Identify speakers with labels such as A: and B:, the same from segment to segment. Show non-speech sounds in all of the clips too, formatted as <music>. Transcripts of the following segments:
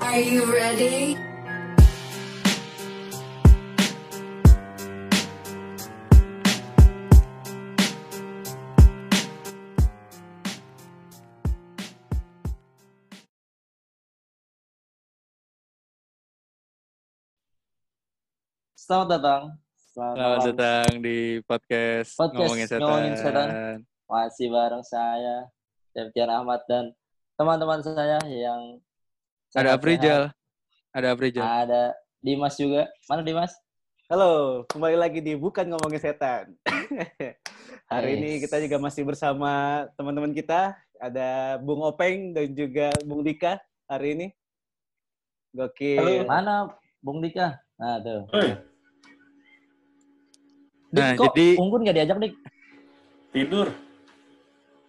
A: Are you ready?
B: Selamat datang.
C: Selamat
B: malam.
C: datang di podcast,
B: Podcast
C: ngomongin setan.
B: Ngomongin Setan. Masih bareng saya, Septian Ahmad dan teman-teman saya yang sehat-sehat.
C: Ada Aprijal. Ada Aprijal.
B: Ada Dimas juga. Mana Dimas?
D: Halo, kembali lagi di Bukan Ngomongin Setan. <laughs> Hari ini
B: Yes.
D: kita juga masih bersama teman-teman kita. Ada Bung Openg dan juga Bung Dika hari ini.
C: Iya.
D: Gokil.
B: Mana Bung Dika? Nah, tuh.
E: Hei.
B: Dik,
C: Nah,
B: kok
C: jadi-
B: Unggun gak diajak, Dik?
E: Tidur.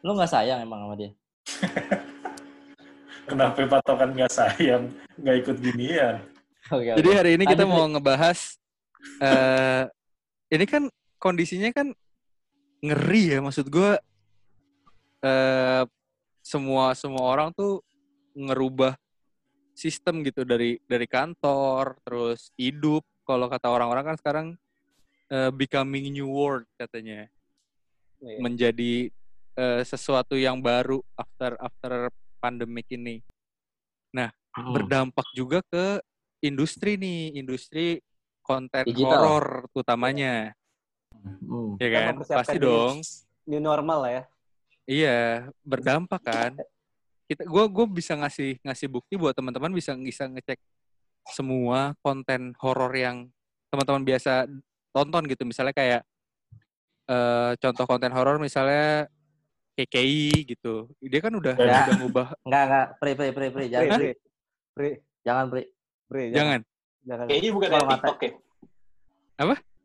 B: Lu gak sayang emang sama dia? <laughs>
E: Kenapa patokan nggak sayang, nggak ikut ginian?
B: Oke, oke.
C: Jadi hari ini kita
B: Lanjut,
C: mau ngebahas eh ini kan kondisinya kan ngeri ya maksud gua eh semua semua orang tuh ngerubah sistem gitu dari dari kantor, terus hidup kalau kata orang-orang kan sekarang eh, becoming new world katanya.
D: Iya.
C: menjadi eh, sesuatu yang baru after after pandemik ini
B: Hmm.
C: berdampak juga ke industri nih industri konten
B: Digital.
C: horor utamanya
B: Hmm.
C: ya
D: Kita
C: kan
D: mempersiapkan
C: pasti
D: diri.
C: dong
D: New normal lah ya.
C: iya berdampak kan kita gue gue bisa ngasih ngasih bukti buat teman-teman bisa bisa ngecek semua konten horor yang teman-teman biasa tonton gitu misalnya kayak eh contoh konten horor misalnya KKI gitu dia kan udah
E: Ya.
C: udah ngubah
B: Enggak, enggak. Pri, pri, pri, pri.
F: Iya
B: Jangan,
D: Pri,
B: pri.
F: kan?
D: pri, pri,
B: Jangan, pri.
D: pri,
B: Iya.
C: jangan
D: jangan.
F: Kayaknya bukan
B: Kalau
F: dari
B: mata-
F: TikTok ya?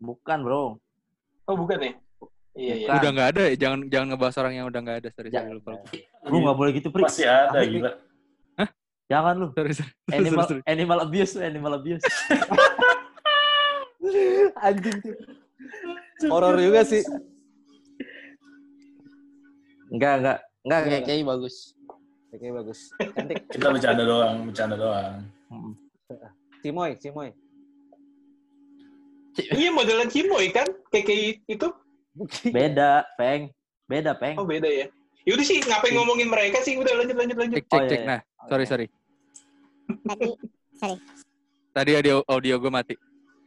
B: Bukan, bro.
F: Oh bukan ya? Iya, iya.
B: Bukan.
C: udah nggak ada ya jangan jangan ngebahas orang yang udah nggak ada sorry sorry
B: Jangan.
C: lupa
B: Lu
C: Iya.
B: gak boleh gitu, pri.
E: Masih ada,
B: Tapi-
E: gila.
B: Jangan,
C: <laughs>
B: lu.
C: sorry sorry, sorry,
B: Animal,
C: sorry.
B: animal abuse, lu, animal abuse.
D: Anjing tuh. Horor juga sih.
B: Enggak, enggak. Enggak,
C: Iya.
D: Enggak,
B: kayak kayak bagus.
D: Oke, bagus. Cantik.
E: Kita bercanda doang, bercanda doang.
D: Cimoy, Cimoy. <laughs>
F: Iya modelan Cimoy kan? KKI itu?
B: Beda, Peng. Beda, Peng.
F: Oh beda ya. Yaudah sih, ngapain ngomongin mereka sih? Udah lanjut, lanjut, lanjut.
C: cek cek
B: Oh, iya,
C: cek
B: iya.
C: nah sorry sorry
G: tadi sorry
C: tadi audio audio gue mati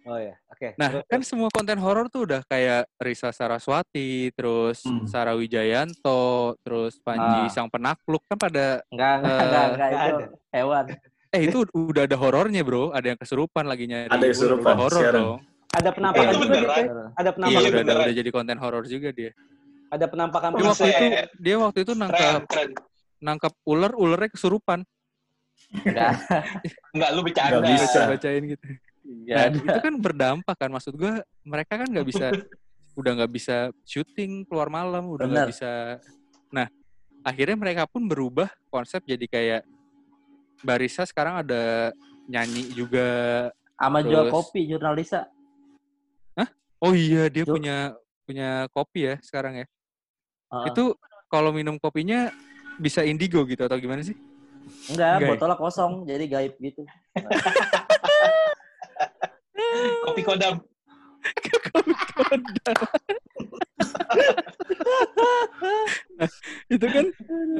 D: Oh ya, oke.
C: Nah, kan semua konten horor tuh udah kayak Risa Saraswati, terus
E: Hmm.
C: Sarah Wijayanto, terus
B: Ah.
C: Panji Sang Penakluk kan pada
B: Enggak, enggak,
C: Eh,
B: enggak, enggak,
D: enggak
B: itu
D: ada.
B: hewan.
C: eh itu udah ada horornya, Bro. Ada yang kesurupan lagi nyari.
E: Ada yang
C: Udah-
E: kesurupan,
C: udah horor
E: siaran.
C: dong.
D: Ada penampakan
F: Itu
D: juga,
F: beneran.
D: Dika. Ada
C: Iya,
D: penampakan.
C: udah, udah
F: beneran.
C: udah jadi konten horor juga dia.
D: Ada penampakan.
C: Dia
F: Buset.
C: waktu itu dia waktu itu
F: Keren,
C: nangkap
F: keren.
C: nangkap ular, ularnya kesurupan.
B: Enggak.
F: Enggak, lu bercanda.
E: Nggak bisa.
C: Bacain gitu.
B: Enggak.
C: Nah, itu kan berdampak kan maksud gua mereka kan nggak bisa udah nggak bisa syuting keluar malam udah nggak
B: Benar.
C: bisa nah akhirnya mereka pun berubah konsep jadi kayak barista sekarang ada nyanyi juga
B: Sama jual
C: Terus.
B: kopi jurnalisa.
C: oh iya dia
B: Itu-
C: punya punya kopi ya sekarang ya
B: Heeh.
C: itu kalau minum kopinya bisa indigo gitu atau gimana sih
B: enggak,
C: Gaib.
B: botolnya kosong jadi gaib gitu.
F: Kopi kodam.
C: <laughs> itu kan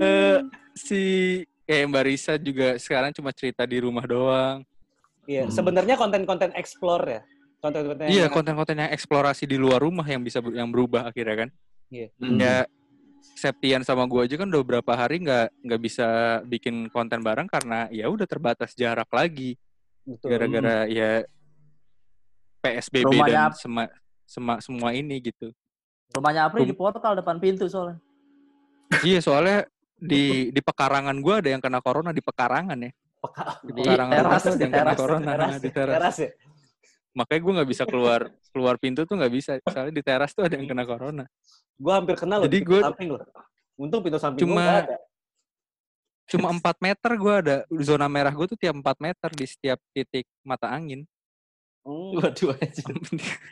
C: eh, si kayak barista juga sekarang cuma cerita di rumah doang
D: Iya, sebenarnya konten-konten explore ya. Konten-konten yang
C: Iya,
D: mana-
C: konten-konten yang eksplorasi di luar rumah yang bisa yang berubah akhirnya kan.
E: Hmm.
C: Ya Septian sama gua aja kan udah berapa hari nggak nggak bisa bikin konten bareng karena ya udah terbatas jarak lagi
D: betul.
C: gara-gara ya PSBB
B: Rumahnya
C: dan sema, sema- semua ini gitu.
B: Rumahnya Apri
C: Rum-
B: di portal depan pintu soalnya.
C: iya, soalnya di di pekarangan gua ada yang kena corona di pekarangan ya. Di
B: Di
C: pekarangan
B: teras,
C: atas
B: di
C: ada Eh, yang kena
B: teras,
C: corona
D: teras,
C: di teras.
D: Teras ya.
C: Makanya gua nggak bisa keluar keluar pintu tuh nggak bisa. Soalnya di teras tuh ada yang kena corona.
D: Gue hampir kenal loh
C: Jadi
D: di
C: gua-
D: pintu samping loh. Untung pintu samping
C: Cuma-
D: gua nggak ada.
C: cuma 4 meter gua ada zona merah gue tuh tiap 4 meter di setiap titik mata angin
D: Hmm.
B: Waduh, anjir.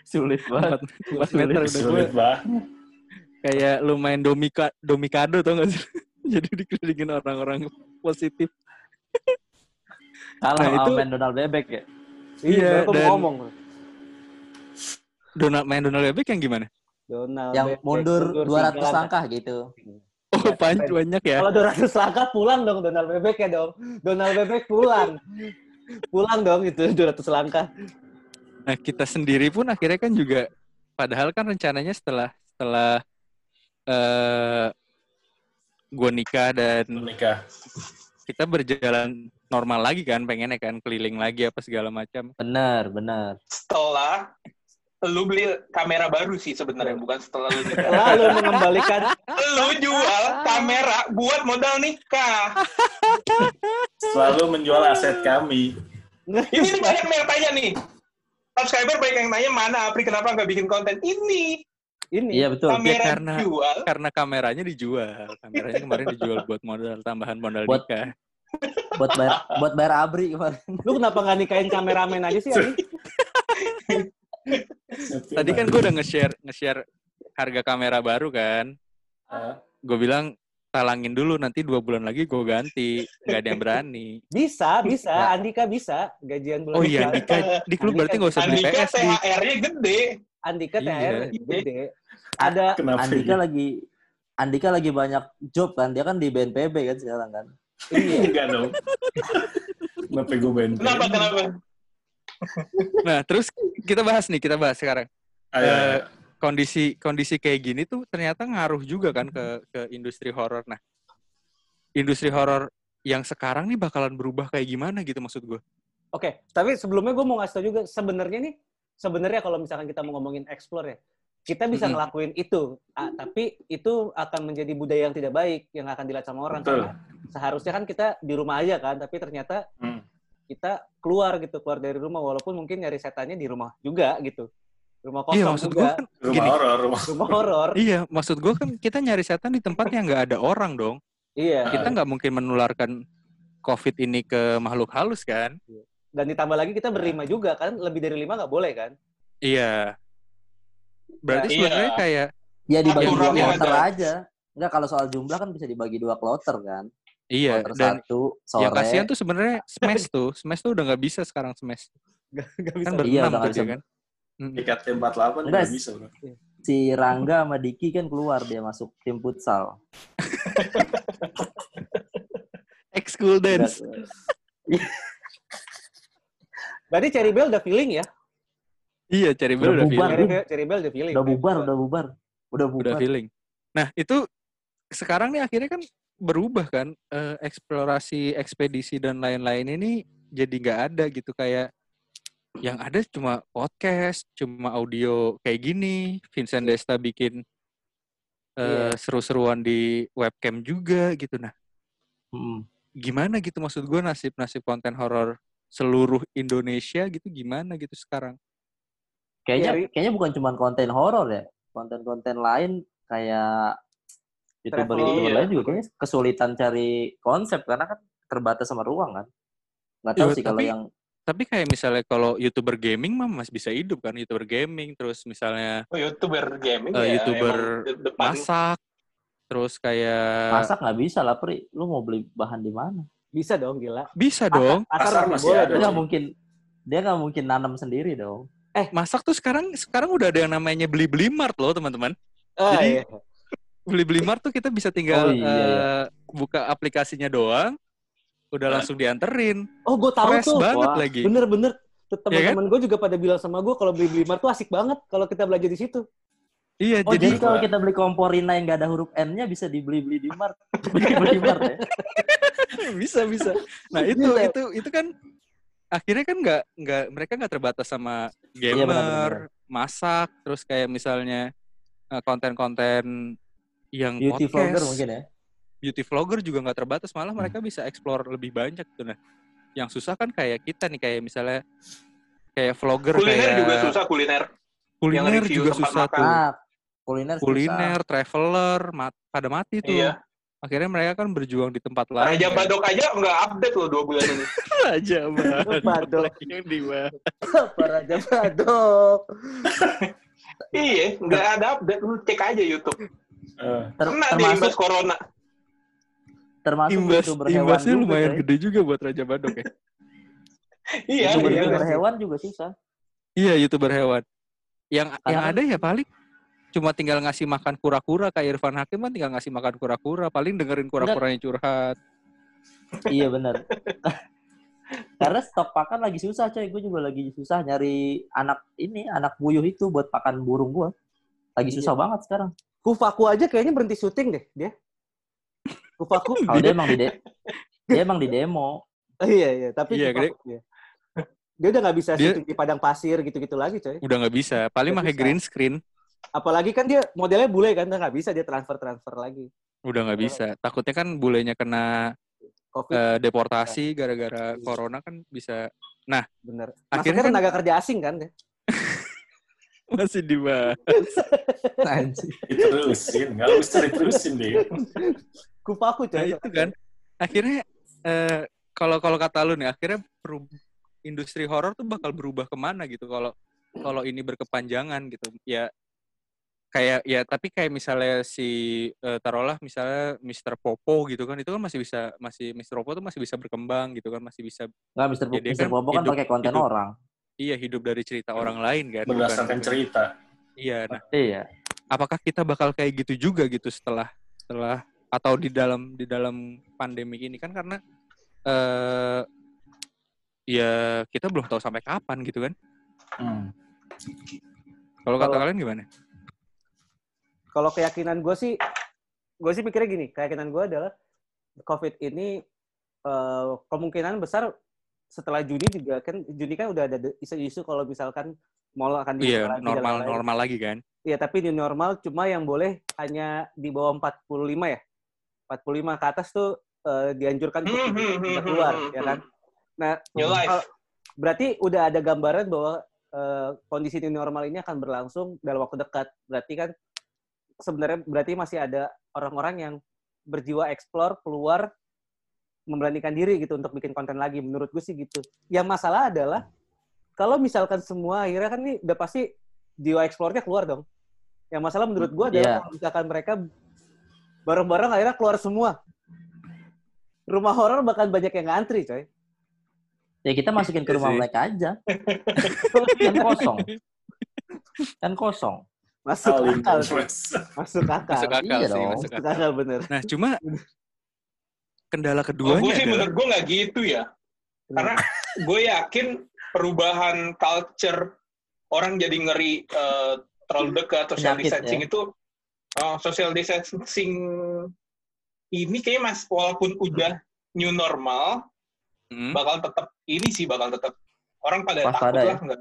B: sulit banget.
C: 4, meter udah gue
E: Sulit banget.
C: kayak lumayan domika <laughs> domikado tau gak sih jadi dikelilingin orang-orang positif
B: Kalah
C: Nah,
B: sama
C: itu-
B: main Donald Bebek ya.
C: <laughs> Iya,
D: Iya, aku
C: dan-
D: mau ngomong.
C: Donald main Donald Bebek yang gimana?
D: Donald
B: Yang
D: Bebek,
B: mundur 200
D: tiga langkah.
B: langkah gitu.
C: Oh, banyak banyak ya.
D: Kalau 200 langkah pulang dong Donald Bebek ya dong. Donald Bebek pulang. pulang dong itu 200 langkah.
C: Nah, kita sendiri pun akhirnya kan juga padahal kan rencananya setelah setelah eh gue nikah dan
E: menikah.
C: kita berjalan normal lagi kan pengennya kan keliling lagi apa segala macam.
B: Bener, bener.
F: Setelah lu beli kamera baru sih sebenarnya bukan setelah lu
D: <laughs>
F: nikah.
D: Lalu
B: <laughs>
D: mengembalikan
F: lu jual kamera buat modal nikah.
E: Selalu menjual aset kami.
F: Ini nih banyak yang tanya nih. Subscriber banyak yang nanya mana Apri kenapa nggak bikin konten ini
D: ini.
B: Iya betul.
F: kamera
C: karena-
F: jual
C: Karena kameranya dijual. Kameranya kemarin dijual buat modal tambahan modal
B: Buat-
C: nikah.
B: Buat bayar buat bayar abri kemarin.
D: Lu kenapa nggak nikahin kameramen aja sih Ani?
C: Tadi kan gue udah nge-share nge-share harga kamera baru kan.
E: <laughs> Ah.
C: Gue bilang talangin dulu nanti dua bulan lagi gue ganti. Gak ada yang berani.
D: Bisa, bisa.
B: Nggak.
D: Andika bisa. Gajian bulan
C: Oh iya,
D: depan.
C: Andika, Dik lu berarti gak usah beli
F: Andika
C: PS, Dik.
F: THR-nya gede.
D: Andika
C: Iya.
D: THR gede. Ada
E: Kenapa
B: Andika
E: ya?
B: lagi Andika lagi banyak job kan. Dia kan di BNPB kan sekarang kan.
E: Enggak dong. Kenapa gue band?
F: Kenapa kenapa?
C: Nah, terus kita bahas nih, kita bahas sekarang.
E: Ayo,
C: Eh,
E: ayo.
C: Kondisi kondisi kayak gini tuh ternyata ngaruh juga kan ke ke industri horor. Nah, industri horor yang sekarang nih bakalan berubah kayak gimana gitu maksud gue.
D: Oke, tapi sebelumnya gue mau ngasih tau juga sebenarnya nih, sebenarnya kalau misalkan kita mau ngomongin explore ya, kita bisa
C: Mm-mm.
D: ngelakuin itu, Ah, tapi itu akan menjadi budaya yang tidak baik yang akan dilihat sama orang.
E: Betul.
D: Karena seharusnya kan kita di rumah aja kan, tapi ternyata
E: Hmm.
D: kita keluar gitu, keluar dari rumah walaupun mungkin nyari setannya di rumah juga gitu. Rumah kosong
C: Iya, maksud gue
D: juga,
C: kan
E: rumah
C: gini.
E: horor, rumah
D: rumah horor.
C: Iya, maksud gue kan kita nyari setan di tempat yang nggak ada orang dong.
D: iya.
C: Kita nggak mungkin menularkan COVID ini ke makhluk halus kan?
D: Dan ditambah lagi kita berlima juga kan, lebih dari lima nggak boleh kan?
C: Iya. Berarti
F: Iya.
C: sebenarnya kayak
B: Ya dibagi dua
F: Aturannya
B: kloter
F: ada.
B: aja. Enggak kalau soal jumlah kan bisa dibagi dua kloter kan.
C: iya
B: kloter
C: dan iya
B: satu sore.
C: yang kasihan tuh
B: <laughs>
C: sebenarnya smash tuh, smash tuh udah nggak bisa sekarang smash.
D: Nggak bisa.
C: Kan
B: Iya,
C: berenam
B: udah
C: tuh
B: nggak
C: dia
B: bisa.
C: kan. Mm.
E: dekat 48
B: Enggak.
E: nggak bisa. bro.
B: si Rangga sama Diki kan keluar dia masuk tim futsal.
C: Ex-school dance.
D: Berarti Cherry Bell udah feeling ya?
C: Iya, cari bel
B: Udah
C: udah
B: bubar.
C: feeling.
D: Cherry Bell, Cherry Bell udah feeling.
B: Udah bubar, udah bubar. Udah
C: Udah
B: bubar.
C: feeling. Nah, itu sekarang nih akhirnya kan berubah kan eh, eksplorasi, ekspedisi dan lain-lain ini jadi nggak ada gitu kayak yang ada cuma podcast, cuma audio kayak gini. Vincent Desta bikin
B: Iya.
C: eh, seru-seruan di webcam juga gitu. Nah,
B: Mm.
C: gimana gitu maksud gue nasib-nasib konten horor seluruh Indonesia gitu gimana gitu sekarang.
B: Kayaknya
D: Iya, Ri.
B: kayaknya bukan cuma konten horor ya. Konten-konten lain kayak youtuber youtuber
C: Iya.
F: Travel,
B: lain juga kayaknya kesulitan cari konsep karena kan terbatas sama ruang kan. Nggak tahu
C: Iya,
B: sih kalau
C: tapi-
B: yang
C: Tapi kayak misalnya kalau YouTuber gaming mah masih bisa hidup kan YouTuber gaming terus misalnya
F: Oh, YouTuber gaming
C: Eh,
F: ya.
C: YouTuber
F: emang de- depan.
C: masak terus kayak
B: masak nggak bisa lah, Pri. Lu mau beli bahan di mana?
D: Bisa dong, gila.
C: bisa dong.
D: nggak
E: Pasar
C: Iya.
E: masih
D: boleh
E: ada.
B: Dia
D: dong.
B: nggak mungkin dia nggak mungkin nanam sendiri dong.
C: Masak tuh sekarang sekarang udah ada yang namanya beli-beli mart loh, teman-teman.
D: Ah,
C: Jadi-
D: iya.
C: Beli-beli mart tuh kita bisa tinggal
B: Oh, iya, iya.
C: eh, buka aplikasinya doang udah langsung dianterin.
D: Oh, gue tahu
C: Fresh
D: tuh.
C: banget
D: Wah,
C: lagi.
D: Bener-bener.
C: Iya
D: Tuh,
C: kan?
D: Teman-teman gue juga pada bilang sama gue kalau beli beli mart tuh asik banget kalau kita belajar di situ.
C: Iya,
B: Oh, jadi,
C: jadi
B: kalau kita beli komporina yang nggak ada huruf N-nya bisa dibeli-beli di
C: <laughs>
B: Mart. Beli-beli di Mart
C: Iya,
F: Iya,
B: ya.
C: bisa bisa. Nah, itu
D: Bisa.
C: itu itu kan akhirnya kan nggak nggak mereka nggak terbatas sama gamer,
B: Iya, benar-benar.
C: masak, terus kayak misalnya eh, konten-konten yang
B: Beauty
C: podcast,
B: vlogger mungkin ya. Hmm.
C: beauty vlogger juga nggak terbatas malah mereka bisa explore lebih banyak tuh nah yang susah kan kayak kita nih kayak misalnya kayak vlogger
F: Kuliner
C: kayak
F: juga susah kuliner. yang
C: kuliner
F: review
C: juga
F: tempat
C: susah
F: makan.
C: tuh
B: Nah, kuliner susah.
C: kuliner traveler mat- pada mati tuh
F: Iya.
C: akhirnya mereka kan berjuang di tempat lain ya.
F: Raja Badok aja nggak update loh dua bulan
C: <laughs>
F: ini.
C: Raja Badok.
D: <laughs> Badok.
C: Lagi yang di bawah.
D: Para jabadok.
F: iya, nggak ada update. Lu cek aja YouTube.
E: Eh,
B: Ter-
F: Kena deh
B: termasuk
F: Nah, imbas corona. <laughs>
B: termasuk
C: imbas
B: youtuber hewan
C: imbasnya
B: juga,
C: lumayan
B: coy.
C: gede juga buat Raja Badok ya
F: Iya,
D: Itu
F: iya.
B: Youtuber hewan juga susah.
C: Iya youtuber hewan. Yang
B: Karena
C: yang
B: kan-
C: ada ya paling cuma tinggal ngasih makan kura-kura kayak Irfan Hakim kan tinggal ngasih makan kura-kura paling dengerin kura-kuranya curhat.
B: iya
F: <laughs>
B: benar. Karena stok pakan lagi susah coy. Gue juga lagi susah nyari anak ini anak puyuh itu buat pakan burung gue.
F: Iya.
B: Lagi susah banget sekarang.
D: Kufaku aja kayaknya berhenti syuting deh dia. Kufaku.
B: Kalau dia emang di
F: <laughs>
B: de- dia emang di demo.
D: Oh, <laughs> iya iya, tapi
C: Iya,
D: Kufaku dia. Dia udah nggak bisa
C: Dia-
D: syuting di padang pasir gitu-gitu lagi, coy.
C: Udah nggak bisa. Paling
D: Nggak
C: pakai
D: bisa.
C: green screen
D: Apalagi kan dia modelnya bule kan, nggak bisa dia transfer-transfer lagi.
C: udah nggak bisa. Takutnya kan bulenya kena
D: Covid
C: eh, deportasi gara-gara
B: Iya.
C: corona kan bisa <laughs>
D: bener.
C: akhirnya
D: Akhirnya
C: kan-
D: tenaga kerja asing kan dia.
C: masih di bawah.
B: Anjir.
E: Diterusin, nggak usah diterusin deh.
C: Nah,
D: Kufaku
E: Gitu.
D: coy.
C: itu kan akhirnya eh, kalau kalau kata lu nih akhirnya peru- industri horor tuh bakal berubah kemana gitu kalau kalau ini berkepanjangan gitu ya kayak ya tapi kayak misalnya si eh, taruhlah misalnya Mr. Popo gitu kan itu kan masih bisa masih Mr. Popo tuh masih bisa berkembang gitu kan masih bisa
B: Nggak, Mr.
C: Ya, dia
B: Mister
C: kan
B: Bobo kan
C: hidup-
B: pakai konten
C: hidup.
B: orang.
C: iya hidup dari cerita orang lain kan bukan-
E: Berdasarkan cerita.
C: iya nah
B: Iya.
C: apakah kita bakal kayak gitu juga gitu setelah setelah atau di dalam di dalam pandemi ini kan karena eh ya kita belum tahu sampai kapan gitu kan
E: Hmm.
C: kalau kata
D: Kalau-
C: kalian gimana
D: Kalau keyakinan gue sih, gue sih mikirnya gini, keyakinan gue adalah COVID ini eh, kemungkinan besar setelah Juni juga kan Juni kan udah ada de- isu-isu kalau misalkan mall akan dibuka
C: iya
D: lagi dan
C: normal
D: lain-lain.
C: normal lagi kan
D: Iya, tapi new normal cuma yang boleh hanya di bawah 45 ya. 45 ke atas tuh eh, dianjurkan untuk
F: Hmm, hmm,
D: tidak
F: hmm,
D: keluar,
F: hmm,
D: ya
F: hmm.
D: kan? Nah,
F: New life.
D: kalau- berarti udah ada gambaran bahwa eh, kondisi new normal ini akan berlangsung dalam waktu dekat. Berarti kan sebenarnya berarti masih ada orang-orang yang berjiwa explore keluar memberanikan diri gitu untuk bikin konten lagi menurut gue sih gitu. Yang masalah adalah kalau misalkan semua akhirnya kan ini udah pasti jiwa explore-nya keluar dong. Yang masalah menurut gue adalah
B: Iya.
D: kalau misalkan mereka bareng-bareng akhirnya keluar semua. Rumah horor bahkan banyak yang ngantri, coy.
B: Ya kita masukin ke
C: Iya
B: rumah
C: sih.
B: mereka
D: <laughs>
B: aja. kan kosong. Kan kosong.
D: Masuk
E: Saling
D: akal, coy.
E: terus.
D: masuk akal.
C: masuk akal
B: iya
C: sih
B: dong.
C: masuk
D: Masuk
C: akal
D: akal bener.
C: nah <laughs> cuma kendala
F: Kalau
C: keduanya
F: gue sih
C: adalah,
F: menurut gue nggak gitu ya.
B: Hmm.
F: Karena gue yakin perubahan culture orang jadi ngeri eh, terlalu dekat social
B: Penyakit, ya.
F: distancing itu eh, social distancing ini kayaknya mas walaupun udah new normal
C: Hmm,
F: bakal tetap ini sih bakal tetap orang pada
B: Waspada
F: takut
B: ya?
F: lah nggak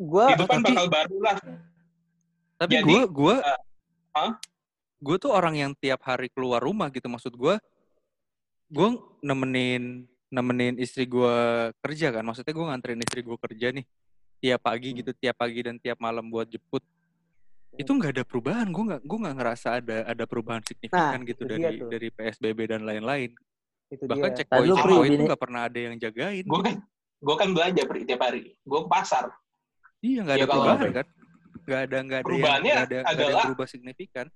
D: Gue
F: itu
C: Ah,
F: kan
C: tapi-
F: bakal baru lah
C: tapi
F: jadi,
C: gue gue
F: ah?
C: gue tuh orang yang tiap hari keluar rumah gitu maksud gue gue nemenin nemenin istri gue kerja kan maksudnya gue nganterin istri gue kerja nih tiap
F: Hmm.
C: pagi gitu tiap pagi dan tiap malam buat jemput itu nggak ada perubahan gue nggak gue nggak ngerasa ada ada perubahan signifikan gitu
D: Nah, itu dia
C: dari
D: tuh.
C: dari psbb dan lain-lain
D: itu
C: bahkan
D: dia. Nah,
C: checkpoint
B: Lalu, Pri,
C: checkpoint itu
B: bini-
C: nggak pernah ada yang jagain
F: gue kan gue kan belanja Pri, tiap hari gue ke pasar
C: iya nggak ada
F: Ya, kalau-
C: perubahan kan nggak ada nggak ada yang
F: Perubahannya
C: nggak ada, nggak ada yang
F: adalah-
C: berubah signifikan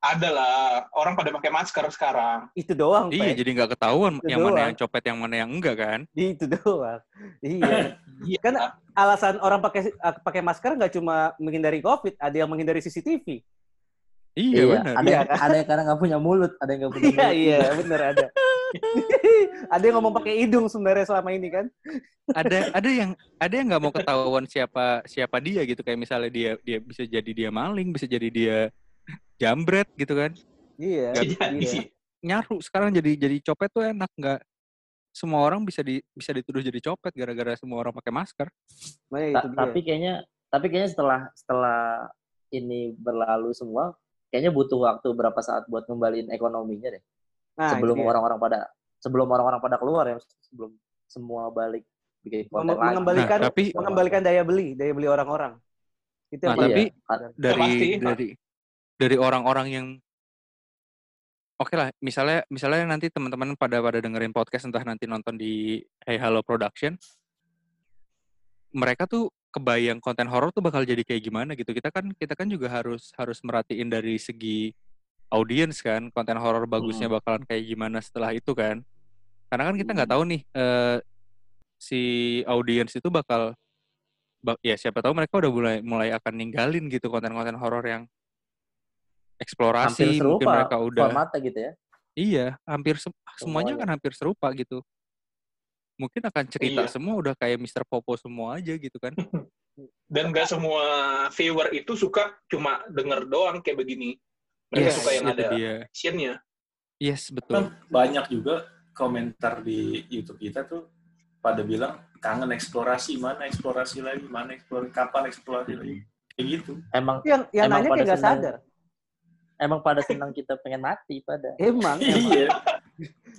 F: adalah orang pada pakai masker sekarang
D: Itu doang,
C: iya
D: Pe.
C: jadi nggak ketahuan
D: Itu
C: yang mana
D: doang.
C: yang copet yang mana yang enggak kan
D: Itu doang. Iya.
F: Iya.
D: Kan alasan orang pakai eh, pakai masker nggak cuma menghindari COVID, ada yang menghindari CCTV.
C: Iya, benar.
B: Ada
D: Iya,
B: yang, ada yang karena nggak punya mulut, ada yang nggak punya
D: Iya,
B: mulut.
D: iya, bener ada. <laughs> ada yang ngomong pakai hidung sebenarnya selama ini kan.
C: Ada ada yang ada yang nggak mau ketahuan siapa siapa dia gitu kayak misalnya dia dia bisa jadi dia maling, bisa jadi dia jambret gitu kan.
D: Iya.
F: <laughs> Jadi
D: iya.
F: sih
C: Nyaru sekarang jadi jadi copet tuh enak nggak semua orang bisa di bisa dituduh jadi copet gara-gara semua orang pakai masker.
D: Makanya
B: Ta-
D: itu dia.
B: tapi kayaknya tapi kayaknya setelah setelah ini berlalu semua, kayaknya butuh waktu berapa saat buat ngembaliin ekonominya deh.
D: Nah, itu
B: sebelum
D: dia.
B: orang-orang pada sebelum orang-orang pada keluar ya, sebelum semua balik bikin konten
D: Mem-
B: lagi.
D: mengembalikan-
C: Nah, tapi
D: mengembalikan daya beli, daya beli orang-orang. Itu
C: Nah,
D: yang paling-
C: tapi
B: Iya, kan.
C: dari
F: pasti.
C: dari dari orang-orang yang Oke lah, misalnya misalnya nanti teman-teman pada pada dengerin podcast entah nanti nonton di Hey Hello Production, mereka tuh kebayang konten horor tuh bakal jadi kayak gimana gitu. Kita kan kita kan juga harus harus merhatiin dari
D: Hmm.
C: segi audiens kan, konten horor bagusnya bakalan kayak gimana setelah itu kan. Karena kan kita nggak tahu nih eh, si audiens itu bakal bak- ya siapa tahu mereka udah mulai mulai akan ninggalin gitu konten-konten horor yang eksplorasi mungkin
B: serupa
C: mereka udah
B: formatnya gitu ya.
C: Iya, hampir sem- semuanya
B: Semuanya.
C: kan hampir serupa gitu. Mungkin akan cerita
F: Iya.
C: semua udah kayak Mr. Popo semua aja gitu kan.
F: Dan gak semua viewer itu suka cuma denger doang kayak begini. <laughs>
C: Iya,
F: Mereka suka yang
C: itu
F: ada
C: dia.
F: actionnya.
C: Yes, betul.
E: Banyak juga komentar di YouTube kita tuh pada bilang kangen eksplorasi, mana eksplorasi lagi, mana eksplorasi, kapan eksplorasi lagi.
C: Hmm.
E: Kayak gitu. <laughs>
B: Emang
D: Yang yang
B: Emang
D: Iya, nanya
B: pada
D: kayak nggak
B: senang.
D: sadar.
B: emang pada senang kita pengen mati pada.
D: Emang. emang.
E: Iya.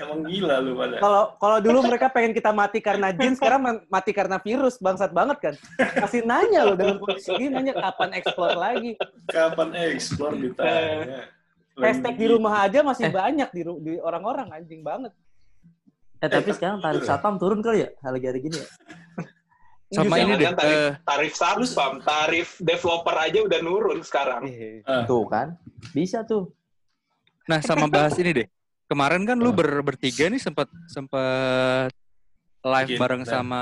E: Emang gila lu pada.
D: Kalau kalau dulu mereka pengen kita mati karena jin, sekarang men- mati karena virus, bangsat banget kan? Masih nanya loh dengan posisi gini, nanya kapan explore lagi.
E: Kapan
C: Eh.
E: eksplor Ya. ditanya.
D: Hashtag di rumah aja masih banyak di, ru- di orang-orang anjing banget.
B: Eh tapi sekarang tarif satpam turun kali ya hari-hari gini ya.
C: Sama ini deh. eh,
F: Jangan-jangan tarik- Tarif Samsung, tarif developer aja udah nurun sekarang.
C: eh,
B: Tuh kan. Bisa tuh. <laughs>
C: nah, sama bahas ini deh. Kemarin kan lu ber- bertiga nih sempat sempat live
E: Bikin
C: bareng
E: band.
C: sama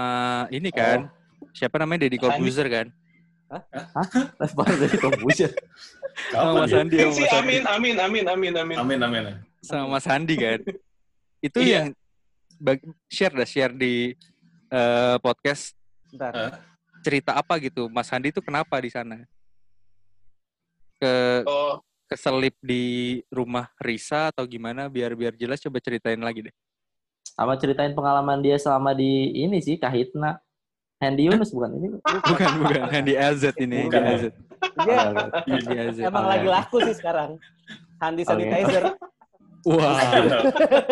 C: ini kan.
F: Oh.
C: Siapa namanya Deddy
E: Apaan
C: Corbuzier kan?
B: Live bar dari Kombuser.
C: Sama
E: Kapan
C: Mas
E: ya?
C: Andi, sama Ah.
F: Si
C: Mas Andi.
F: Iya amin, amin, amin, amin, amin.
E: Amin, <laughs> amin.
C: sama Mas Andi <laughs> kan. Itu yang
F: Iya.
C: bag- share dah share di eh, podcast
D: Bentar.
C: cerita apa gitu. Mas Andi itu kenapa di sana? Ke
F: Oh,
C: keselip di rumah Risa atau gimana biar biar jelas coba ceritain lagi deh.
B: Sama ceritain pengalaman dia selama di ini sih Kahitna. Hendy Yunus bukan ini.
C: Bukan bukan Andi Azad ini, Andi
E: Bukan.
C: Azad.
D: <laughs> Iya,
C: Andi Azad.
D: emang
B: Oke.
D: lagi laku sih sekarang. Handi
B: Oke.
D: sanitizer.
C: Wah,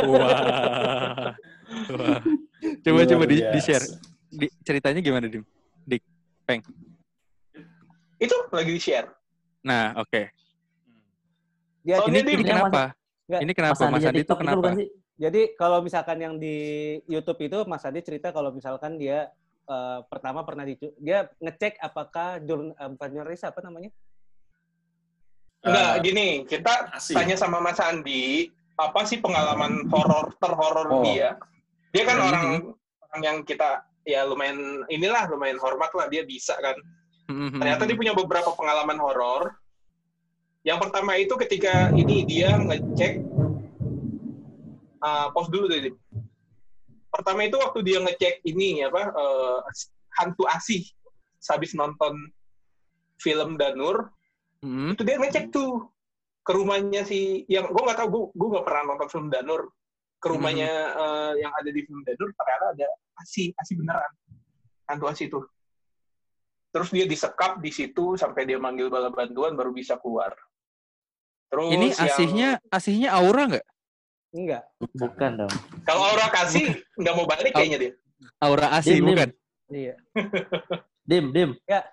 C: wah. Wah. Coba coba di,
E: Luar
C: di share.
E: biasa.
C: Di, ceritanya gimana, Dim?
F: itu lagi di share.
C: Nah, oke.
D: Dia-
F: Oh,
C: Ini,
F: Dim.
C: ini
B: Ini
C: kenapa?
D: Mas-
C: Ini kenapa Mas Andi itu
B: TikTok itu
C: kenapa?
B: bukan sih?
D: Jadi kalau misalkan yang di YouTube itu Mas Andi cerita kalau misalkan dia eh, pertama pernah dicu- dia ngecek apakah jurn, eh, bukan jurnalis apa namanya?
F: Enggak,
E: Eh,
F: gini, kita
E: asik.
F: tanya sama Mas Andi, apa sih pengalaman horor terhoror
E: Oh.
F: dia? Dia kan
C: Mhm.
F: orang orang yang kita ya lumayan inilah lumayan hormat lah dia bisa kan.
C: Mhm.
F: Ternyata dia punya beberapa pengalaman horor. Yang pertama itu ketika ini dia ngecek Ah, pause dulu tadi. Pertama itu waktu dia ngecek ini apa eh, hantu asih habis nonton film Danur
C: Mhm.
F: itu dia ngecek tuh ke rumahnya si yang gue nggak tahu gue gue nggak pernah nonton film Danur ke rumahnya eh, yang ada di film Danur ternyata ada asi asi beneran hantu asi tuh terus dia disekap di situ sampai dia manggil bala bantuan baru bisa keluar
B: Oh,
F: terus
C: Ini
F: yang-
C: asihnya asihnya aura nggak?
D: Enggak.
B: Bukan dong.
F: kalau Aura kasih nggak mau balik kayaknya dia
C: Aura asih
B: Dim, Dim.
C: bukan?
D: Iya.
B: Dim, Dim.
D: Ya.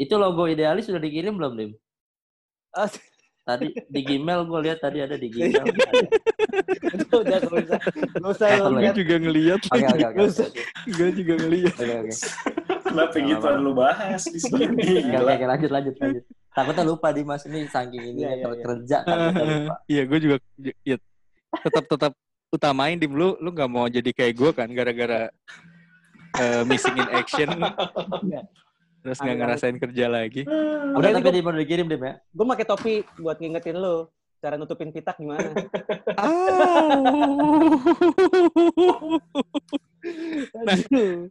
B: Itu logo idealis sudah dikirim belum, Dim? Tadi di Gmail gue lihat tadi ada di
D: <laughs>
B: Gmail.
D: Aduh, udah gak usah. Gak usah
B: Nonton lagi.
D: lu
C: Gue
D: lihat.
C: juga ngeliat
B: Oke,
C: lagi.
B: oke,
C: <laughs>
B: oke.
D: Terus-
C: Gue juga ngeliat.
B: Oke, oke.
E: Kenapa gitu lu bahas di sini?
B: Oke,
E: Gila.
B: oke, lanjut, lanjut, lanjut. Takutnya lupa Dimas ini saking ini ya,
D: Iya, iya, iya.
B: kerja takutnya lupa.
C: Iya, gue juga ya, tetap tetap utamain di lu lu nggak mau jadi kayak gue kan gara-gara eh, missing in action terus nggak ngerasain kerja lagi.
B: Udah
D: Udah
B: tapi
D: gue,
B: Dim udah dikirim Dim ya.
D: gue pakai topi buat ngingetin lu cara nutupin
C: <laughs>
D: pitak gimana.
C: Au. Nah.
D: Aduh.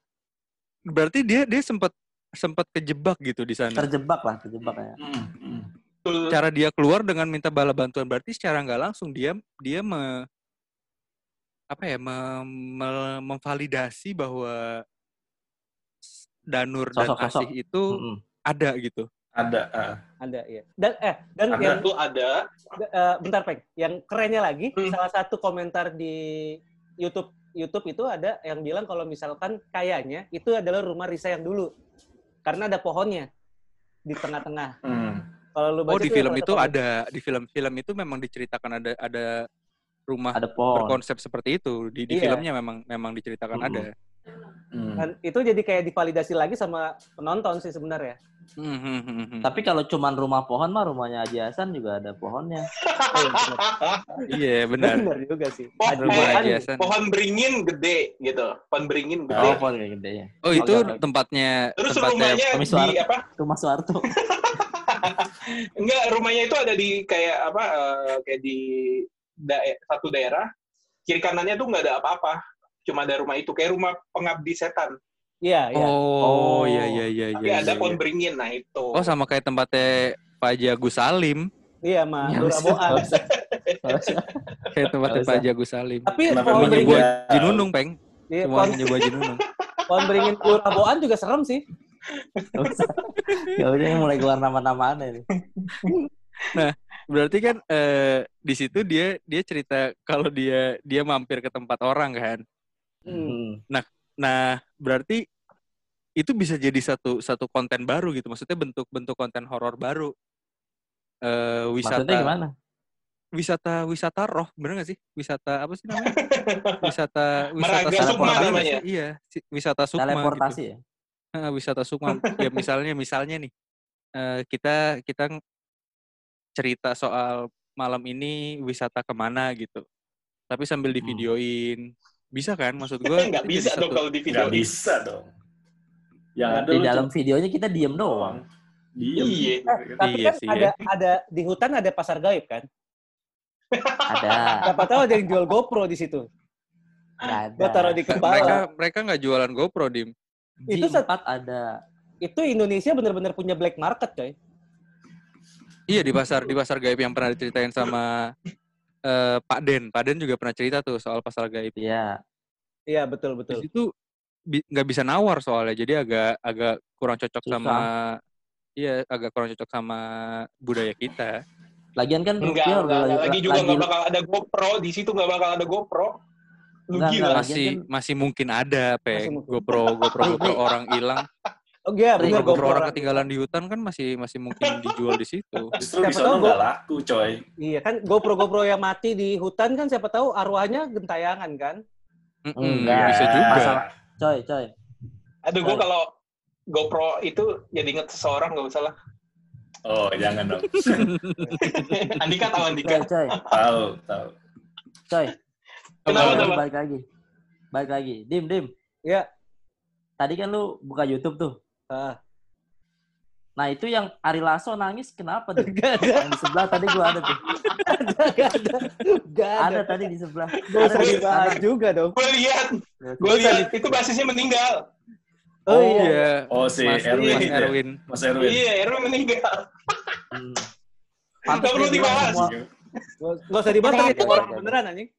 C: Berarti dia dia sempat sempat kejebak gitu di sana.
B: Terjebak lah, terjebak ya.
E: Hmm, hmm.
F: Betul.
C: Cara dia keluar dengan minta bala bantuan berarti secara nggak langsung dia dia me, apa ya mem- mel- memvalidasi bahwa Danur dan
B: Sosok-sosok.
C: Asih itu
B: Mm-mm.
C: ada gitu.
E: Ada. ah.
D: Ada ya. Dan eh dan
E: Ada.
D: yang
F: itu ada
D: Eh, bentar Peng, yang kerennya lagi
F: Hmm.
D: salah satu komentar di YouTube YouTube itu ada yang bilang kalau misalkan kayaknya itu adalah rumah Risa yang dulu karena ada pohonnya di tengah-tengah.
E: Hmm.
D: Kalau lu
C: Oh
D: baca
C: di
D: tuh
C: film
D: salah
C: itu
D: satu
C: ada di film-film itu memang diceritakan ada ada rumah
B: Ada pohon.
C: Oh. berkonsep seperti itu di, di
D: Iya.
C: filmnya memang memang diceritakan
B: Mm-mm.
C: ada.
E: Hmm.
D: Dan itu jadi kayak divalidasi lagi sama penonton sih sebenarnya.
C: Hmm, hmm, hmm, hmm.
B: Tapi kalau cuman rumah pohon mah rumahnya Haji Hasan juga ada pohonnya. Oh, iya.
C: <laughs> Iya benar.
D: <laughs> Benar juga sih.
F: Pohon,
D: Ada
C: Rumah
D: bahan.
C: Haji Hasan.
F: pohon beringin gede gitu pohon beringin gede
B: Oh, pohon gede ya.
C: Oh itu
B: Agak-
C: tempatnya
F: terus
C: tempatnya
F: rumahnya
B: Tommy
F: di
B: Soeharto.
F: apa
B: Rumah Soeharto.
F: enggak rumahnya itu ada di kayak apa eh, kayak di dae- satu daerah kiri kanannya tuh nggak ada apa-apa cuma ada rumah itu kayak rumah pengabdi setan
D: Iya, iya.
C: Oh, iya iya iya
F: tapi
C: iya.
F: ada
C: iya, iya.
F: pohon beringin nah itu <laughs>
C: Oh sama kayak tempatnya Pak Haji Agus Salim,
D: Iya, mah.
B: Nggak usah,
D: Duraboan.
B: nggak usah. Nggak usah.
C: kayak tempatnya
B: Nggak
C: Pak
B: usah.
C: Haji Agus Salim.
D: Tapi
E: Kenapa
D: pohon
E: emang
D: beringin,
E: juga?
C: Haji Nunung, Peng.
D: iya,
C: Semua
D: pohon,
C: menyebut Haji Nunung.
D: pohon beringin Duraboan juga serem sih.
B: Nggak usah. Ya udah ini mulai keluar nama-nama aneh nih.
C: Berarti kan eh, di situ dia dia cerita kalau dia dia mampir ke tempat orang kan.
B: Hmm.
C: Nah, berarti itu bisa jadi satu satu konten baru gitu. Maksudnya bentuk-bentuk konten horor baru. Eh wisata
B: Maksudnya gimana?
C: wisata wisata roh bener gak sih wisata apa sih namanya wisata wisata
F: Meraga
B: Sukma
C: bener nggak
F: namanya.
C: sih? iya si- wisata sukma
B: Teleportasi ya?
C: gitu. Heeh, wisata sukma ya misalnya misalnya nih eh, kita kita ng- cerita soal malam ini wisata kemana gitu tapi sambil
B: Hmm.
C: divideoin bisa kan maksud gua
F: <laughs>
C: itu jadi
F: nggak bisa dong
C: satu-
F: kalau di
E: Nggak
F: video
E: bisa dong. Yang ada
B: Di
E: lu
B: dalam
E: Nah, tuh
B: videonya kita diem
E: <laughs>
B: doang.
E: Diem.
F: Iya.
D: Tapi
C: Iya
D: kan
C: sih,
D: ada ada di hutan ada pasar gaib kan.
B: Ada.
D: Siapa tahu ada yang jual GoPro di situ.
B: Nggak ada.
D: Gua taruh di kepala.
C: Nah, mereka mereka nggak jualan GoPro dim
D: Itu
B: Itu
D: saat-
B: sempat ada.
D: Itu Indonesia benar-benar punya black market, coy.
C: Iya di pasar di pasar gaib yang pernah diceritain sama eh, Pak Den. Pak Den juga pernah cerita tuh soal pasar gaib.
B: Iya.
D: Iya, betul
C: Di
D: betul.
C: situ bi- nggak bisa nawar soalnya, jadi agak agak kurang cocok
B: Susah.
C: sama iya agak kurang cocok sama budaya kita.
B: Lagian kan
F: Enggak,
B: dia
F: enggak, enggak. lagi juga nggak
B: lagi-
F: bakal ada GoPro di situ nggak bakal ada GoPro. Lu
B: Enggak,
F: gila.
B: enggak.
C: Masih
B: kan-
C: masih mungkin ada peng
D: Masih mungkin.
C: GoPro GoPro GoPro orang hilang,
D: Oh iya,
B: Tapi
D: benar
C: GoPro,
D: GoPro.
C: orang ketinggalan di hutan kan masih masih mungkin dijual di situ.
E: Justru
D: Siapa
E: di sana
D: tahu
E: nggak
D: gua-
E: laku, coy.
D: Iya kan GoPro-GoPro yang mati di hutan kan siapa tahu arwahnya gentayangan kan.
C: Mm-mm,
B: Enggak.
C: Iya, bisa juga.
B: Masalah. Coy, coy.
F: Aduh, gua
B: Sorry.
F: kalau GoPro itu jadi inget seseorang nggak
C: <laughs>
F: usah lah.
E: Oh, jangan dong.
F: Andika tahu
B: Coy,
F: Andika.
B: coy.
E: tahu, tahu.
B: Coy.
F: Kenapa,
B: Balik lagi,
F: kenapa?
B: Balik lagi. Balik lagi. Dim, dim.
D: Iya.
B: Tadi kan lu buka YouTube tuh.
D: Ah. <laughs>
B: Nah, itu yang Ari Lasso nangis kenapa, Dim?
D: Gak ada,
B: Yang di sebelah tadi gua ada tuh.
D: gak ada, gak ada.
B: Ada tadi di sebelah.
D: Gak usah
B: Ada di
D: dibahas
B: kanan.
D: juga dong.
F: Gue lihat, gue
D: Gua
F: lihat itu basisnya meninggal.
D: Oh,
C: Oh
D: iya.
C: iya.
E: Oh, si
C: Mas,
E: Erwin.
C: Mas
E: ya?
C: Erwin.
E: Mas Erwin.
F: Iya, Erwin meninggal.
B: Hmm.
F: Nggak perlu
B: dia bilang
F: dibahas.
B: semua-
E: Iya,
D: Gak usah dibahas tapi itu
B: Gak ada,
D: orang
B: gak ada.
D: beneran anjing.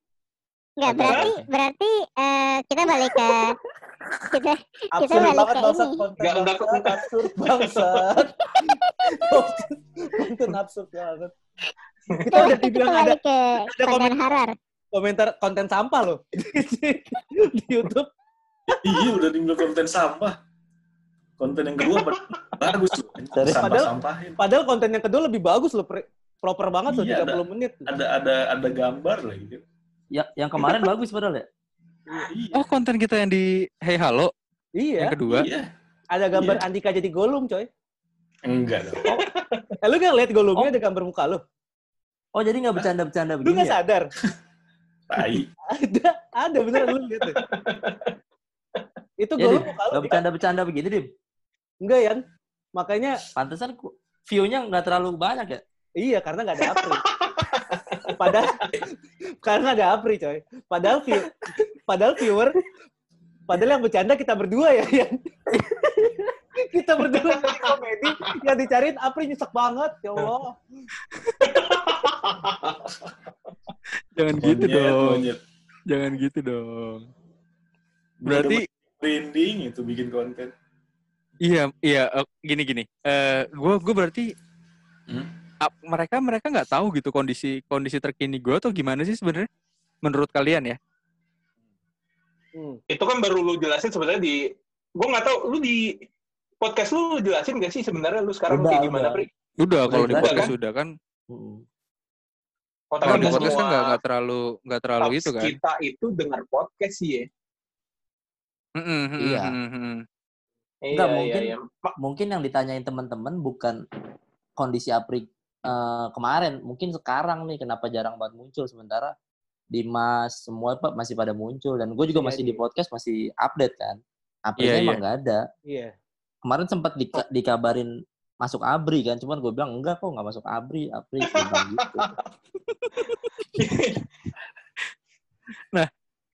G: Enggak,
E: Ada.
G: berarti berarti eh, kita balik ke kita
D: Absurd
G: balik
D: banget
G: ke
D: bangsat
G: ini.
D: konten
F: Gak- gak-
D: bangsat. Absurd <laughs> bangsat. Konten- Konten absurd banget. Kita udah
G: kita
D: dibilang ada
G: balik ke
D: ada
G: konten horor.
D: komentar konten sampah loh. <laughs> Di Youtube.
E: Iya, udah dibilang konten sampah. Konten yang kedua pad- bagus loh.
B: Dari-
E: Sampah-sampahin.
D: Padahal konten yang kedua lebih bagus loh. pre- Proper banget loh
E: Iya,
D: 30 menit.
E: Ada ada ada gambar lagi. kan?
B: Ya, yang kemarin bagus padahal ya.
E: Iya.
C: Oh konten kita yang di Hey Halo yang
D: Iya.
C: kedua.
E: Iya.
D: Ada gambar Andika jadi Gollum coy.
E: Enggak dong.
D: Eh, lu gak liat Gollumnya ada gambar muka lu?
B: Oh, jadi nggak bercanda-bercanda
D: Lu
B: begini
D: gak
B: ya?
D: sadar?
E: Tai.
D: ada ada beneran lu lihat <laughs> deh itu
B: Iya,
D: gue
B: Dim.
D: muka lu
B: Nggak bercanda-bercanda begini, Dim.
D: enggak ya makanya
B: Pantesan ku- view-nya nggak terlalu banyak ya?
D: iya karena nggak ada apri padahal karena ada apri coy padahal view padahal viewer padahal yang bercanda kita berdua ya yang kita berdua jadi komedi yang dicariin apri nyesek banget ya allah
E: Oh,
C: Jangan gitu
E: Monyet,
C: dong.
E: monyet.
C: Jangan gitu dong.
E: Udah
C: Berarti
E: branding itu bikin konten.
C: iya iya eh, gini gini. Eh gua gua berarti
E: Hmm?
C: ap- mereka mereka nggak tahu gitu kondisi kondisi terkini gua atau gimana sih sebenarnya menurut kalian ya?
D: Hmm.
F: Itu kan baru lu jelasin sebenarnya di, gue nggak tahu lu di podcast lu jelasin gak sih sebenarnya lu sekarang
B: Udah,
F: kayak gimana,
B: udah.
F: Pri?
C: Udah kalau di
B: jelas
C: podcast
F: kan?
C: sudah kan.
B: Hmm.
F: Oh,
C: Kalau
F: tapi
C: di
F: nggak gitu kan.
C: podcast kan
F: semua
C: nggak nggak terlalu nggak terlalu
F: subs
C: itu kan.
F: kita itu dengar podcast sih ya.
B: Iya.
F: Iya,
B: Nggak, mungkin.
F: iya, iya. Ma-
B: mungkin yang ditanyain teman-teman bukan kondisi Apri eh, kemarin, mungkin sekarang nih kenapa jarang banget muncul sementara Dimas semua Pak masih pada muncul dan gue juga
D: Iya,
B: masih
D: iya.
B: di podcast masih update kan. Apri
C: Iya,
B: emang nggak ada.
D: Iya.
B: Kemarin sempat dika- dikabarin masuk Abri kan, cuman gue bilang enggak kok nggak masuk Abri, Apri Gua bilang gitu.